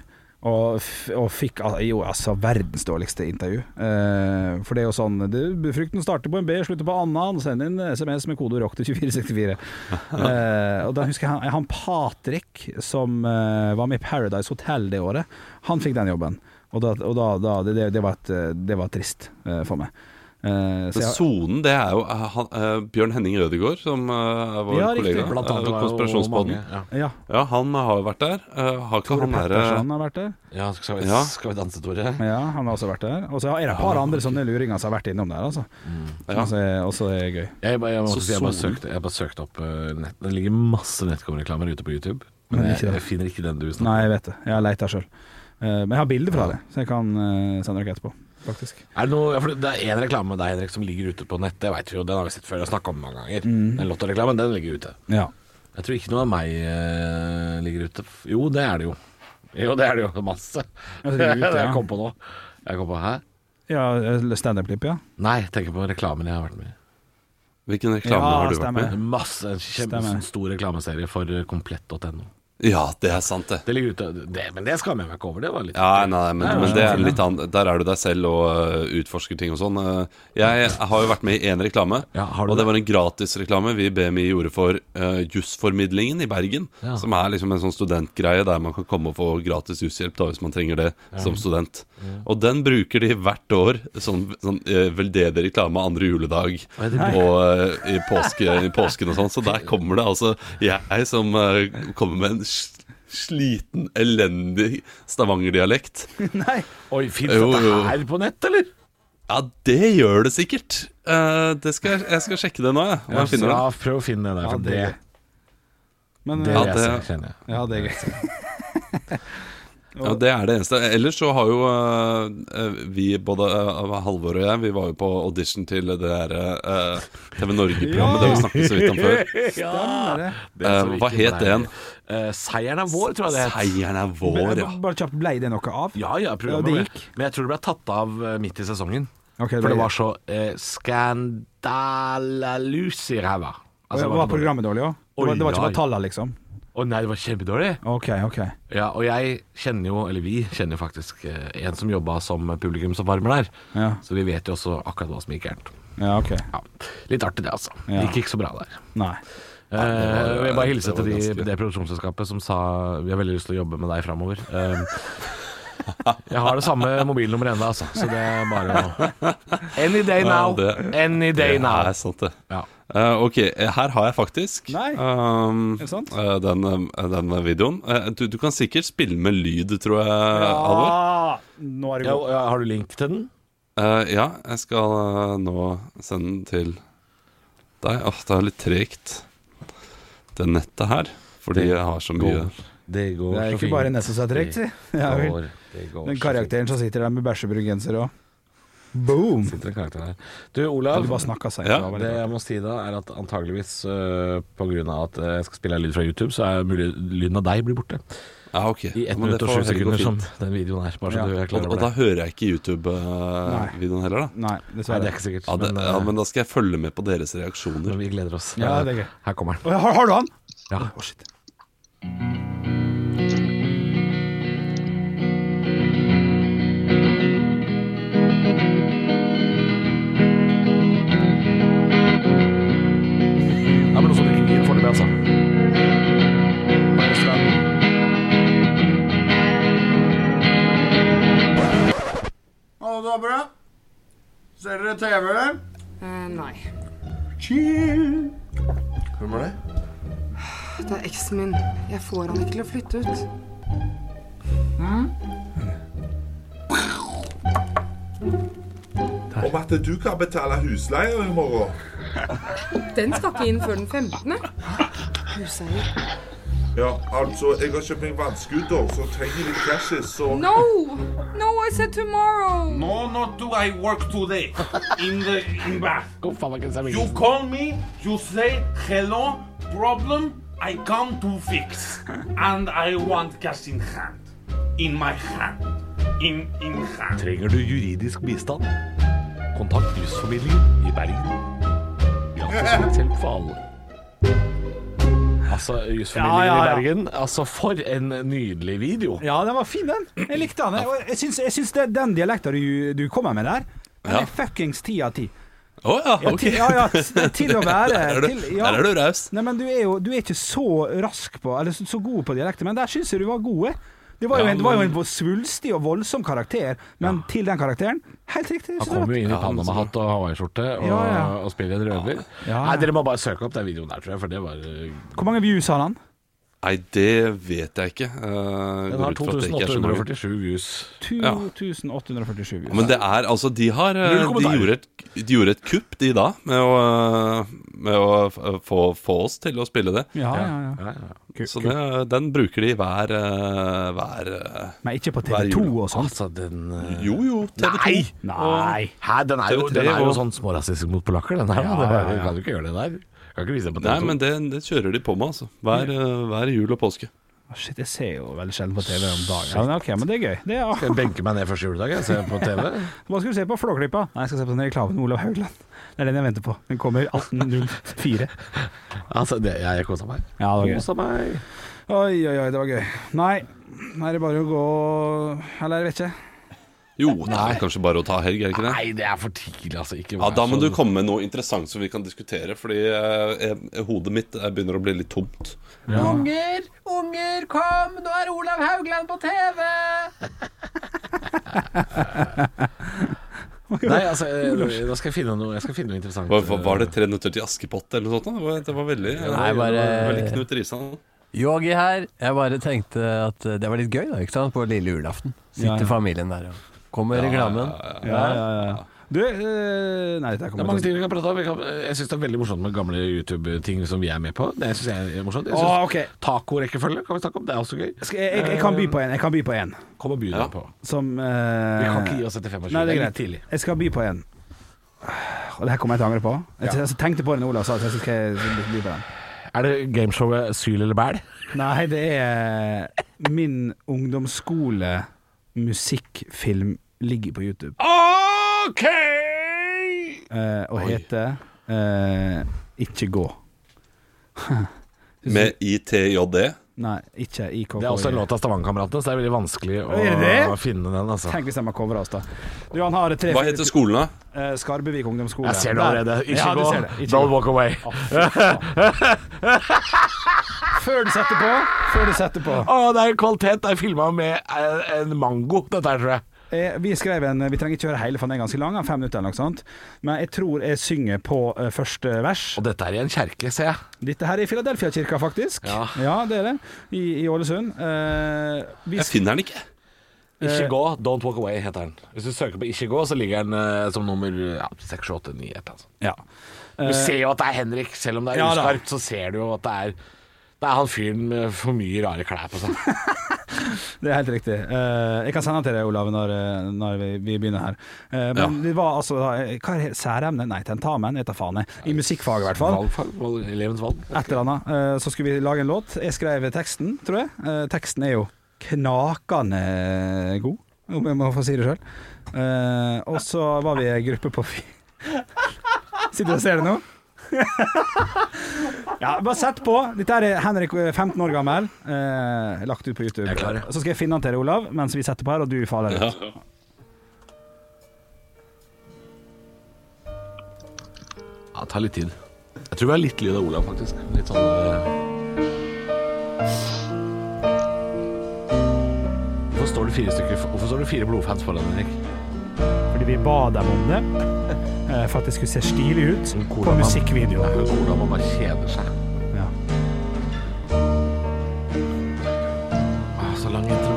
D: Og, f og fikk al- jo altså verdens dårligste intervju. Eh, for det er jo sånn du, Frykten starter på en B, slutter på Anna. Han sender inn SMS med kode ROCK til 2464. Eh, og da husker jeg han, han Patrick som eh, var med i Paradise Hotel det året, han fikk den jobben. Og, da, og da, da, det, det, var et, eh, det var trist eh, for meg. Eh, så
F: Men
D: jeg,
F: sonen, det er jo eh, han, eh, Bjørn Henning Rødegård, som eh, er vår
D: Ja, riktig.
F: kollega.
E: Blant
F: eh,
E: annet.
F: Konspirasjonspodden.
E: Ja.
D: ja,
F: Ja, han har jo vært der. Eh, har ikke
D: Tore
F: han derre
D: Petterson har vært der.
E: ja, skal vi,
F: Ja.
E: skal vi danse, Tore?
D: Ja, han har også vært der. Og så er det et par andre sånne luringer som har vært innom der, altså.
E: Mm.
D: Som også er- også er gøy.
E: Jeg, bare- jeg, må
F: Så
E: også si, jeg, bare
F: solen.
E: søkte, jeg bare søkte opp eh, nett, Det ligger masse Netcom-reklamer ute på YouTube, men,
D: Men
E: jeg,
D: ikke det.
E: jeg finner ikke den du snakker
D: Nei, jeg vet det. Jeg har leita sjøl. Men jeg har bilder fra det, så jeg kan eh, sende dere etterpå, faktisk.
E: Er det, noe, ja, for det er en reklame med deg, Henrik, som ligger ute på nettet. Jeg vet jo, Den har vi sett før og snakka om mange ganger.
D: Mm.
E: Den Lotto-reklamen, den ligger ute.
D: Ja.
E: Jeg tror ikke noe av meg eh, ligger ute. F- Jo, det er det jo. Jo, det er det jo. Masse.
D: det ligger ute,
E: det
D: ja.
E: jeg kom på nå. Jeg kom på Hæ?
D: ja eh, Standup-klipp, ja.
E: Nei, jeg tenker på reklamen jeg har vært med i.
F: Hvilken reklame
D: Ja,
F: har du vært
D: stemmer.
F: med i?
E: Masse, En
D: Stemmer.
E: kjempestor reklameserie for eh, komplett.no.
F: Ja, det er sant, det.
E: Det ligger ute. Det, men det skammer jeg meg ikke over. Det var litt
F: Ja, nei, men, men det er litt annet. Der er du deg selv og øh, utforsker ting og sånn. Øh, Jeg har jo vært med i én reklame,
E: Ja, har du
F: og det
E: det?
F: var en gratisreklame vi i BMI gjorde for øh, Jussformidlingen i Bergen.
E: Ja.
F: Som er liksom en sånn studentgreie der man kan komme og få gratis jusshjelp da, hvis man trenger det som student. Og den bruker de hvert år sånn, sånn øh, veldedig reklame andre juledag
E: Oi, det blir-
F: og øh, i, påske, i påsken og sånn. Så der kommer det altså jeg som øh, kommer med en sl- sliten, elendig stavangerdialekt.
E: Oi, fins
F: Jo,
E: dette
F: jo.
E: her på nett, eller?
F: Ja, det gjør det sikkert. Eh, det skal, jeg skal sjekke det nå, jeg. Om jeg finner det.
E: Ja, prøv å finne det der.
D: Ja,
E: For det,
D: det- Men,
E: det,
D: eh,
F: Ja,
E: leser jeg,
F: det-
E: kjenner jeg.
D: ja, det er gøy.
F: Ja, det er det eneste. Ellers så har jo eh, vi, både eh, Halvor og jeg, vi var jo på audition til det der eh, TV Norge-programmet. Det vi snakket så vidt om før.
D: Stemmer det.
F: Eh, hva het det igjen?
E: Eh, seieren er vår, tror jeg det het.
F: Seieren er
D: Men,
F: vår, ja.
D: eh, bare kjapt, blei det noe av?
E: Ja, ja, programmet
D: Ja,
E: ble
D: det gikk.
E: Men jeg tror det ble tatt av eh, midt i sesongen. For
D: Ok,
E: det
D: ble-
E: var så eh, skandalalusi ræva. Altså,
D: Å,
E: det
D: ja, var
E: så dårlig.
D: programmet dårlig òg? Det, var- det var ikke
E: Oi,
D: bare tallene, liksom?
E: Å nei, det var kjempedårlig.
D: OK, OK.
E: Ja, og jeg kjenner jo, eller vi kjenner jo faktisk eh, en som jobba som publikumsoppvarmer der.
D: Ja,
E: Så vi vet jo også akkurat hva som gikk gærent.
D: ja ok.
E: Ja. Litt artig det, altså.
D: Ja.
E: Det gikk ikke så bra der.
D: Nei.
E: Eh, jeg vil bare hilse
F: det var
E: til de,
F: ganske-
E: det produksjonsselskapet som sa vi har veldig lyst til å jobbe med deg framover. Eh, jeg har det samme mobilnummeret ennå, altså. Så det er bare å Any day now.
F: Ja, det-
E: Any day
F: Det
E: now.
F: er sant, det.
E: Ja.
F: Eh, ok, eh, her har jeg faktisk
D: Nei.
F: ehm,
D: det sant?
F: eh, den, eh, den videoen. Eh, du, du kan sikkert spille med lyd, tror jeg, Halvor.
D: Ah, nå er det
E: Ja,
D: god.
E: og- ja, har du link til den?
F: Eh, ja, jeg skal eh, nå sende den til deg. Åh, det er litt tregt, det nettet her. Fordi jeg har så mye
E: Det går
D: Det er ikke bare Nesse som er tregt, si. Ja, vel.
E: det går så
D: Den
E: fint.
D: karakteren som sitter der med bæsjebrungenser og Boom!
E: Sitter en karakter der. Du,
D: Eller
E: Olav.
D: bare snakka seg
F: Ja,
D: fra
E: Det
D: hverandre.
E: jeg må si da, er at antageligvis øh, på grunn av at øh, jeg skal spille lyd fra YouTube, så er mulig lyden av deg blir borte.
F: Ja, ok.
E: I
F: Ja,
E: 1
F: men
E: minutt
F: det
E: og
F: får
E: 7
F: heller gå
E: sekunder, som
F: fint.
E: den videoen er. Bare så
D: Ja.
E: du er klar
F: og,
E: over
F: og da
E: det.
F: hører jeg ikke YouTube-videoen heller, da.
D: Nei,
E: Nei, det er
D: dessverre.
E: ikke sikkert.
F: Ja, det,
E: men,
F: ja,
E: eh,
F: men da skal jeg følge med på deres reaksjoner.
E: men vi gleder oss.
D: Ja, det er gøy.
E: Her kommer den.
D: Å, Har, har du han?
E: Ja. Ja, men også drikker vin foreløpig, altså. Bare oss der.
I: Alle damer, da? Ser dere TV, eller?
J: nei.
I: Chill. Hvem er det?
J: Det er eksen min. Jeg får han ikke til å flytte ut.
I: Om at du kan betale husleie i morgen.
J: Den skal ikke inn før den 15. Huseier.
I: Ja, altså, jeg har kjøpt meg vannskuter, så trenger jeg litt cash, så
J: No! No, I said tomorrow!
H: No, not do I work today in the in bath.
E: Kom, faen, ikke servering.
H: You call me, you say hello, problem I come to fix. And I want cash in hand. In my hand. In, in hand.
E: Trenger du juridisk bistand? Kontakt Jusformidlingen i Bergen. Gratis rettshjelp for alle. Altså, Jusformidlingen
D: Ja, ja, ja.
E: i Bergen. Altså, for en nydelig video.
D: Ja, den var fin, den. Jeg likte han. Jeg, jeg syns, jeg syns det, den dialekta du, du kommer med der, den
F: Ja.
D: er fuckings ti av ti.
F: Å ja,
D: Ja,
F: ok.
D: til, ja, ja, til- til å være
F: Der er du,
D: til, ja.
F: der er du raus.
D: Nei, men du er jo du er ikke så rask på Eller så, så god på dialekter, men der syns eh. jeg du var god. jeg. Det var, jo en, det var jo en svulstig og voldsom karakter, men til den karakteren Helt riktig.
E: Han kommer jo inn i Panama-hatt og hawaiiskjorte og,
D: Ja, ja.
E: og spiller en røver.
D: Ja.
E: Nei, dere må bare søke opp den videoen der, tror jeg, for det var eh,
D: Hvor mange views har han?
F: Nei, det vet jeg ikke. Eh,
E: Den
F: går
E: har
F: ut fra at det ikke er så mange.
E: 2847 views.
D: 2847 views.
F: Ja, Men det er altså De har eh,
E: Null
F: De
E: kommentarer.
F: gjorde et, de gjorde et kupp, de da, med å, eh, med å eh, få, få oss til å spille det.
D: ja, ja, ja.
E: Ja, ja.
F: Så det, den bruker de hver, eh, hver eh,
D: Men ikke på
F: Hver
D: TV2
F: jul.
D: og sånt.
E: Altså, den eh,
F: Jo, jo, TV2.
E: Nei!
D: Nei.
E: Hæ, den er jo,
F: TV3
E: den er jo
F: og-
E: sånn smårasistisk mot polakker, den her. da. Den Kan du ikke gjøre det der? Kan ikke vise det på
F: Nei,
E: TV2.
F: men det, det kjører de på med, altså. Hver, eh, hver jul og påske.
D: Å, Shit, jeg ser jo veldig sjelden på TV om dagen. Ja, men, ok, men det er gøy. Det er,
E: Skal jeg benke meg ned første juledag jeg, se på TV?
D: Hva skal du se på? Flåklypa? Nei, jeg skal se på den reklamen med Olav Haugland. Det er den jeg venter på. Den kommer 18.04.
E: Altså, det, jeg kosa meg.
D: Ja, det var gøy.
E: Kosa meg.
D: Oi, oi, oi, det var gøy. Nei, Nei, det er bare å gå Eller jeg vet ikke.
F: Jo, det er kanskje bare å ta helg, er det ikke det?
E: Nei, det er for tidlig, altså. Ikke
F: Ja,
E: vær
F: Da må
E: så-
F: du komme med noe interessant som vi kan diskutere, fordi eh, jeg- hodet mitt eh, begynner å bli litt tomt.
G: Unger, unger, kom! Nå er Olav Haugland på TV!
E: Nei, altså, eh, da skal jeg finne noe, jeg skal finne noe interessant. eh,
F: Var, var, var det 'Tre nøtter til Askepott' eller noe sånt? da? Det var, det var veldig
G: Nei,
F: det var-
G: bare-
F: veldig Knut Risan.
G: Yogi her. Jeg bare tenkte at eh, det var litt gøy, da, ikke sant? På lille julaften.
D: Ja, ja.
G: Sitter familien der og Kommer reklamen.
D: Ja, ja, ja. Du eh, Nei, dette her
E: Det er
D: kommer
E: mange
D: til
E: ting vi kan prate om. Vi kan, jeg syns det er veldig morsomt med gamle YouTube-ting som vi er med på. Det syns jeg er morsomt. Jeg
D: å
E: synes
D: OK.
E: Tacorekkefølge kan vi snakke om, det er også gøy.
D: Skal, jeg, jeg, jeg kan by på en. Jeg kan by på en
E: Kom og by deg
F: Ja.
E: på.
D: som eh,
E: Vi kan ikke gi oss etter 25.
D: Nei, det er
E: litt
D: greit.
E: tidlig.
D: Jeg skal by på en. Og det her kommer jeg til å angre på. Jeg jeg tenkte på det når Olav sa det, så skal jeg by på den.
E: Er det gameshowet Syl eller bæl?
D: Nei, det er eh, min ungdomsskole musikkfilm ligger på YouTube.
E: OK!
D: eh, og heter eh, Ikke gå.
F: Med ITJD.
D: Nei, ikke IKK.
E: Det er også en låt av Stavangerkameratene, så det er veldig vanskelig å
D: Er det det?
E: finne den, altså.
D: Tenk hvis de har covra oss, da. Du, han har tre
F: Hva heter skolen, da?
D: Eh, Skarbevik ungdomsskole.
E: Jeg ser det
D: Der.
E: allerede. Ikke
D: ja, du
E: gå.
D: ser det. Ikke
E: Don't
D: gå.
E: walk away.
D: Før du setter på. Før du setter på.
E: Å, det er kvalitet. Det er filma med eh, en mango, dette her, tror jeg.
D: Eh, vi skrev en Vi trenger ikke høre hele, for den er ganske lang. Fem minutter eller noe sånt. Men jeg tror jeg synger på eh, første vers.
E: Og dette er i en kjerke, ser jeg.
D: Dette her er i Philadelphia-kirka, faktisk.
E: Ja.
D: det er det. I, i Ålesund. Eh, vi
F: Jeg finner den ikke.
D: Eh,
E: Ikke gå, Don't Walk Away heter den. Hvis du søker på Ikke gå, så ligger den eh, som nummer ja, 6, 7, 8, 9 et eller annet sånt.
D: ja.
E: Du ser jo at det er Henrik, selv om det er
D: Eh, Ja, da.
E: uskarpt, så ser du jo at det er det er han fyren med for mye rare klær på seg.
D: Det er helt riktig. Eh, jeg kan sende den til deg, Olav, når, eh, når vi, vi begynner her. Eh, men det var altså da, eh, Hva er det? Særemne? Nei, tentamen. Jeg tar faen, jeg. I musikkfaget, i hvert fall.
E: Valgfag, valg, elevens valg.
D: Et eller annet. Eh, så skulle vi lage en låt. Jeg skrev teksten, tror jeg. Eh, teksten er jo knakende god, om jeg må få si det sjøl. og så var vi i en gruppe på fi... Sitter du og ser det nå? ja, bare sett på. Dette er Henrik, eh, 15 år gammel. Eh, lagt ut på YouTube.
E: Jeg er klar, ja.
D: Så skal jeg finne den til deg, Olav, mens vi setter på her, og du faller ut.
E: Ja, det tar litt tid. Jeg tror vi har litt lyd av Olav, faktisk. Litt sånn eh. Hvorfor står det fire stykker Hvorfor står det fire blodfans foran, Henrik?
D: Fordi vi ba dem om det. eh, for at det skulle se stilig ut på
E: Hvordan man-
D: musikkvideoen.
E: Jeg hører Olav han bare kjeder seg.
D: Ja.
E: Ah, så lang intro.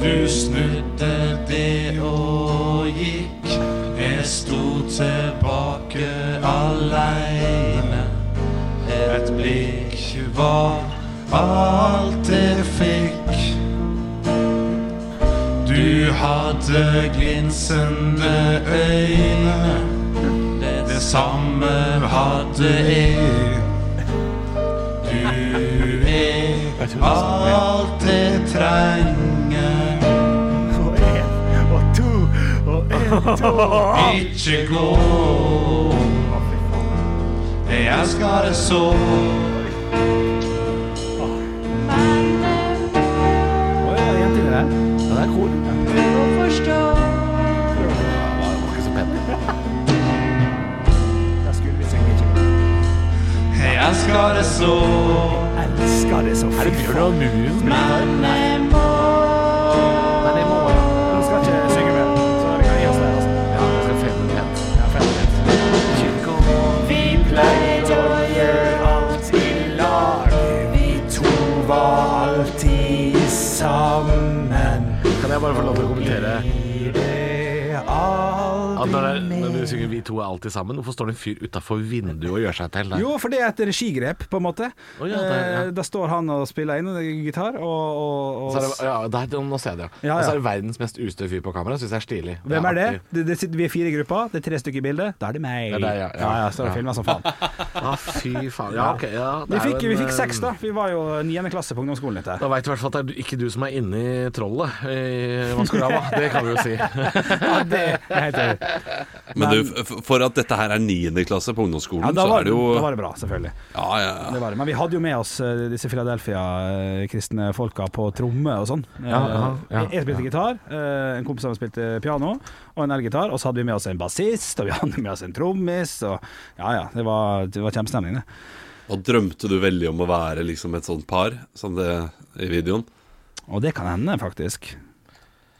H: Du snudde det og gikk. Jeg sto tilbake aleine. Et blikk var alt jeg fikk. Du hadde glinsende øyne. Det samme hadde jeg. Du er alt jeg trenger. Og én og to og én, to Ikke gå. Jeg skal det så.
D: Oi, det er en til der.
E: Ja, det er cool.
D: Der skulle vi sikkert ikke
H: Jeg skal det så.
D: elsker det så fint.
E: Bjørn og Muren?
H: Men jeg må
D: Nå skal jeg ikke synge mer. Så vi kan gi oss der. altså.
E: når, det, når du synger 'Vi to er alltid sammen', hvorfor står det en fyr utafor vinduet og gjør seg til? der?
D: Jo, for det er et regigrep, på en måte.
E: Å, ja, det er- ja.
D: Eh, Da står han og spiller inn gitar, og, og,
E: Så
D: og
E: er det, ja, der, nå ser jeg det, ja.
D: Ja, ja.
E: Og så er det verdens mest ustø fyr på kamera. Syns jeg er stilig.
D: Hvem er det?
E: artig.
D: det, det sitter, vi er fire i gruppa, det er tre stykker i bildet. Da er det meg.
E: Det er deg, ja, ja.
D: ja, ja, så er det
E: Ja.
D: filmet som faen.
E: Ah, fy faen. Ja, ok. Ja, det
D: Vi
E: er jo
D: fikk,
E: en,
D: vi fikk seks,
E: eh,
D: da. Vi var jo niende klasse på ungdomsskolen. Dette.
E: Da veit du i hvert fall at det er ikke du som er inni trollet i Maskorama. Det kan vi jo si.
F: Men du, f- for at dette her er 9. klasse på ungdomsskolen,
D: Ja, da,
F: så
D: var,
F: er det jo
D: da var det bra, selvfølgelig.
F: Ja, ja, ja.
D: Det var det. Men vi hadde jo med oss eh, disse Philadelphia-kristne folka på tromme og sånn.
E: ja,
D: Eh,
E: ja,
D: jeg spilte gitar, eh, en kompis av meg spilte piano og en elgitar. Og så hadde vi med oss en bassist, og vi hadde med oss en trommis, og ja ja. Det var, det var kjempestemning, det.
F: Og drømte du veldig om å være liksom et sånt par som det i videoen?
D: Og det kan hende, faktisk.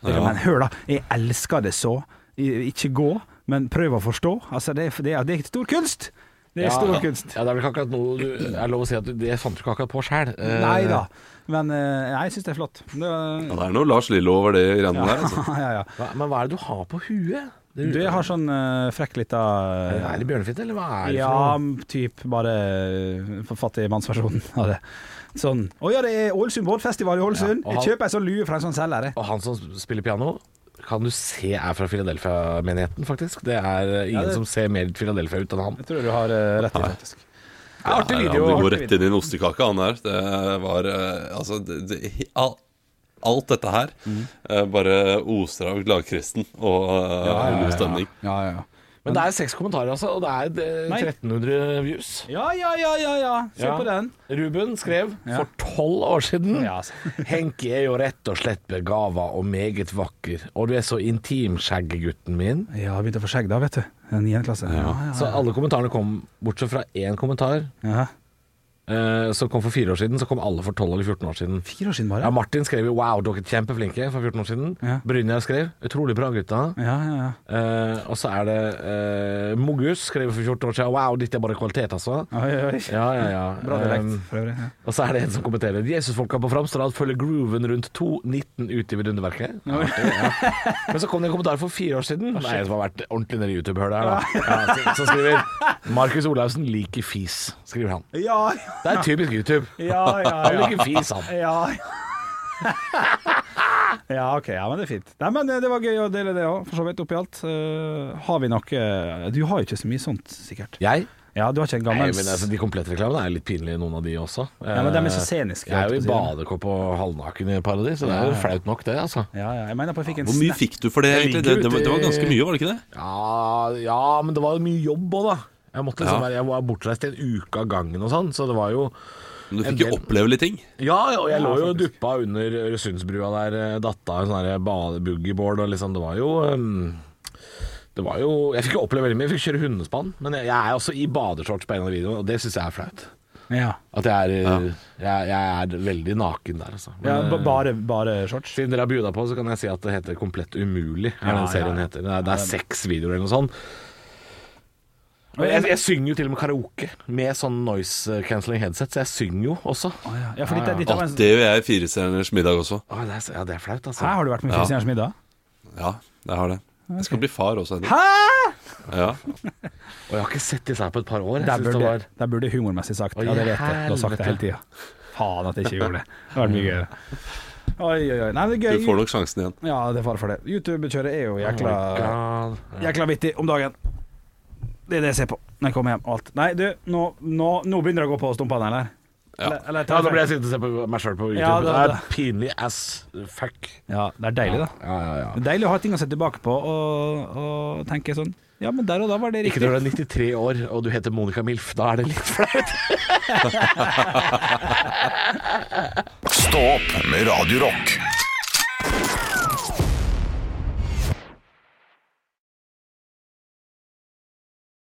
D: Det kan, Men hør, da. Jeg elsker det så. I- Ikke gå, men prøv å forstå. Altså, det, er- det, er, det er stor kunst! Det er stor kunst.
E: Ja, det er vel ikke akkurat noe du er lov å si at du, det fant du ikke akkurat på Eh, sjæl.
D: Nei da. Men eh, jeg syns det er flott. Det,
F: Ja, det er noe Lars Lillo over det greiene der, altså.
D: ja, ja.
E: Men hva er det du har på huet? Det,
D: Du jeg har sånn eh, frekk eh, lita
E: Er det bjørnefitte, eller hva er det
D: Ja,
E: for noe?
D: typ bare eh, fattig mannsversjonen av det. Sånn Å ja, det er Ålesund båtfestival i
E: Ja,
D: Ålesund!
E: og
D: jeg
E: han-
D: kjøper ei sånn lue fra en sånn selger, jeg.
E: Og han som spiller piano, kan du se er fra Philadelphia-menigheten, faktisk. Det er eh, ingen som ser mer Philadelphia ut enn han.
D: Jeg tror du har eh, rett i, faktisk.
F: Ja,
D: Artig
F: han
D: video.
F: går
D: artig
F: rett inn i en ostekake, han her. Det var eh, Altså, det, det, al- alt dette her
D: Mm.
F: eh, bare oser av gladkristen og eh, god stemning.
D: Ja, ja, ja.
E: Men det er seks kommentarer, altså, og det er eh,
D: Nei.
E: 1300 views.
D: Ja, ja, ja, ja, ja. Se
E: Ja.
D: på den.
E: Ruben skrev
D: Ja.
E: for tolv år siden
D: Ja, altså.
E: Henki er jo rett og slett begava og meget vakker, og du er så intim, skjeggegutten min.
D: Ja, begynte å få skjegg da, vet du. I 9. klasse. Ja,
E: Så alle kommentarene kom, bortsett fra én kommentar
D: ja.
E: eh, som kom for fire år siden, så kom alle for 12 eller 14 år siden.
D: Fire år siden
E: Ja,
D: bare.
E: Martin skrev jo 'wow, dere er kjempeflinke' for 14 år siden.
D: Ja.
E: Brynjar skrev 'utrolig bra, gutta'.
D: Ja, ja, ja.
E: Eh, og så er det eh, Mogus skrev for 14 år siden 'wow, dette er bare kvalitet', altså.
D: Oi, oi, oi.
E: Ja, ja, ja.
D: Bra
E: Eh,
D: dialekt, for øvrig. Ja.
E: Og så er det en som kommenterer Jesusfolka på Framstrad følger grooven rundt 2.19 ut i vidunderverket. Ja, artig, ja. Men så kom det en kommentar for fire år siden. Nei, som har vært ordentlig nede i YouTube-hølet her, da. Ja, så, så skriver Markus Olaussen liker fis, skriver han.
D: Ja,
E: Det er typisk YouTube.
D: ja, ja,
E: Han
D: ja.
E: liker fis, han.
D: ja. Ja, ok, ja, men det er fint. Nei, men eh, Det var gøy å dele det òg, for så vidt, oppi alt. Eh, har vi noe eh, Du har jo ikke så mye sånt, sikkert.
E: Jeg?
D: Ja, du har ikke en
E: Nei,
D: gammel
E: men altså, De komplette reklamene er litt pinlige, noen av de også.
D: Ja, men de er så sceniske,
E: eh, Jeg er jo i
D: holdt jeg på å
E: badekopp og halvnaken i paradis, så det er jo flaut nok, det, altså.
D: Ja, ja. Jeg mener på jeg fikk en
F: Hvor mye
D: snap-
F: fikk du for det,
E: Jeg
F: egentlig?
E: ligger
F: Det, det, var- det var
E: ute i-
F: ganske mye, var det ikke det?
E: Ja, ja, men det var jo mye jobb òg, da. Jeg, måtte liksom
F: Ja.
E: være, jeg var bortreist en uke av gangen og sånn, så det var jo
F: Men du
E: En
F: fikk jo
E: del.
F: oppleve litt ting.
E: Ja, og jeg lå jo og duppa under Øresundsbrua der, eh, datta en sånn her badeboogieboard og liksom, det var jo ehm, det var jo, Jeg fikk jo oppleve veldig mye, jeg fikk kjøre hundespann. Men jeg, jeg er også i badeshorts på en av videoene, og det syns jeg er flaut.
D: Ja,
E: At jeg er, eh, jeg, jeg er veldig naken der, altså. Men,
D: ja ba-
E: eh,
D: bare, bare shorts?
E: siden dere har bjuda på, så kan jeg si at det heter Komplett umulig. Er
D: Ja,
E: den serien
D: ja.
E: heter Det er, det er seks videoer eller noe sånt. Og jeg, jeg synger jo til og med karaoke med sånn noise cancelling headset, så jeg synger jo også.
D: Ja, ja, fordi det, ditt
F: Å,
D: var en-
F: det gjør jeg i Firestjerners middag også.
E: Å, det er, så- ja, det er flaut, altså.
D: Hæ, har du vært med i
F: Ja.
D: Kristianers middag?
F: Ja, jeg har det. Jeg skal bli far også. Henrik. Ja.
E: Og jeg har ikke sett disse her på et par år. Jeg
D: Der
E: synes det
D: burde,
E: var
D: der burde jeg humormessig sagt
E: Oi,
D: Ja, det vet jeg. Du har sagt det hele tida. Faen at jeg ikke gjorde det. Det hadde vært mye gøyere. Oi, oi, oi. Nei, men det
F: Du
D: er
F: får
D: gøy.
F: nok sjansen igjen.
D: Ja, det er fare for det. YouTube-kjøret er jo
E: Oh my
D: jækla
E: God.
D: Jækla vittig om dagen. Det er det jeg ser på når jeg kommer hjem og alt. Nei, du, nå, nå, nå begynner det å gå på stumpene, eller?
F: Ja.
D: Eller- eller tar
E: Ja,
D: jeg
E: nå ble jeg
D: feil?
E: sittende og se på meg sjøl på YouTube.
D: Ja,
E: det,
D: det-
E: er pinlig as fuck.
D: Ja, det er deilig, da.
E: Ja, ja, ja.
D: Det er deilig å ha ting å se tilbake på og, og tenke sånn Ja, men der og da var det
E: Ikke
D: riktig.
E: når du er 93 år og du heter Monica Milf. Da er det litt flaut.
A: Stå opp med Radio Rock.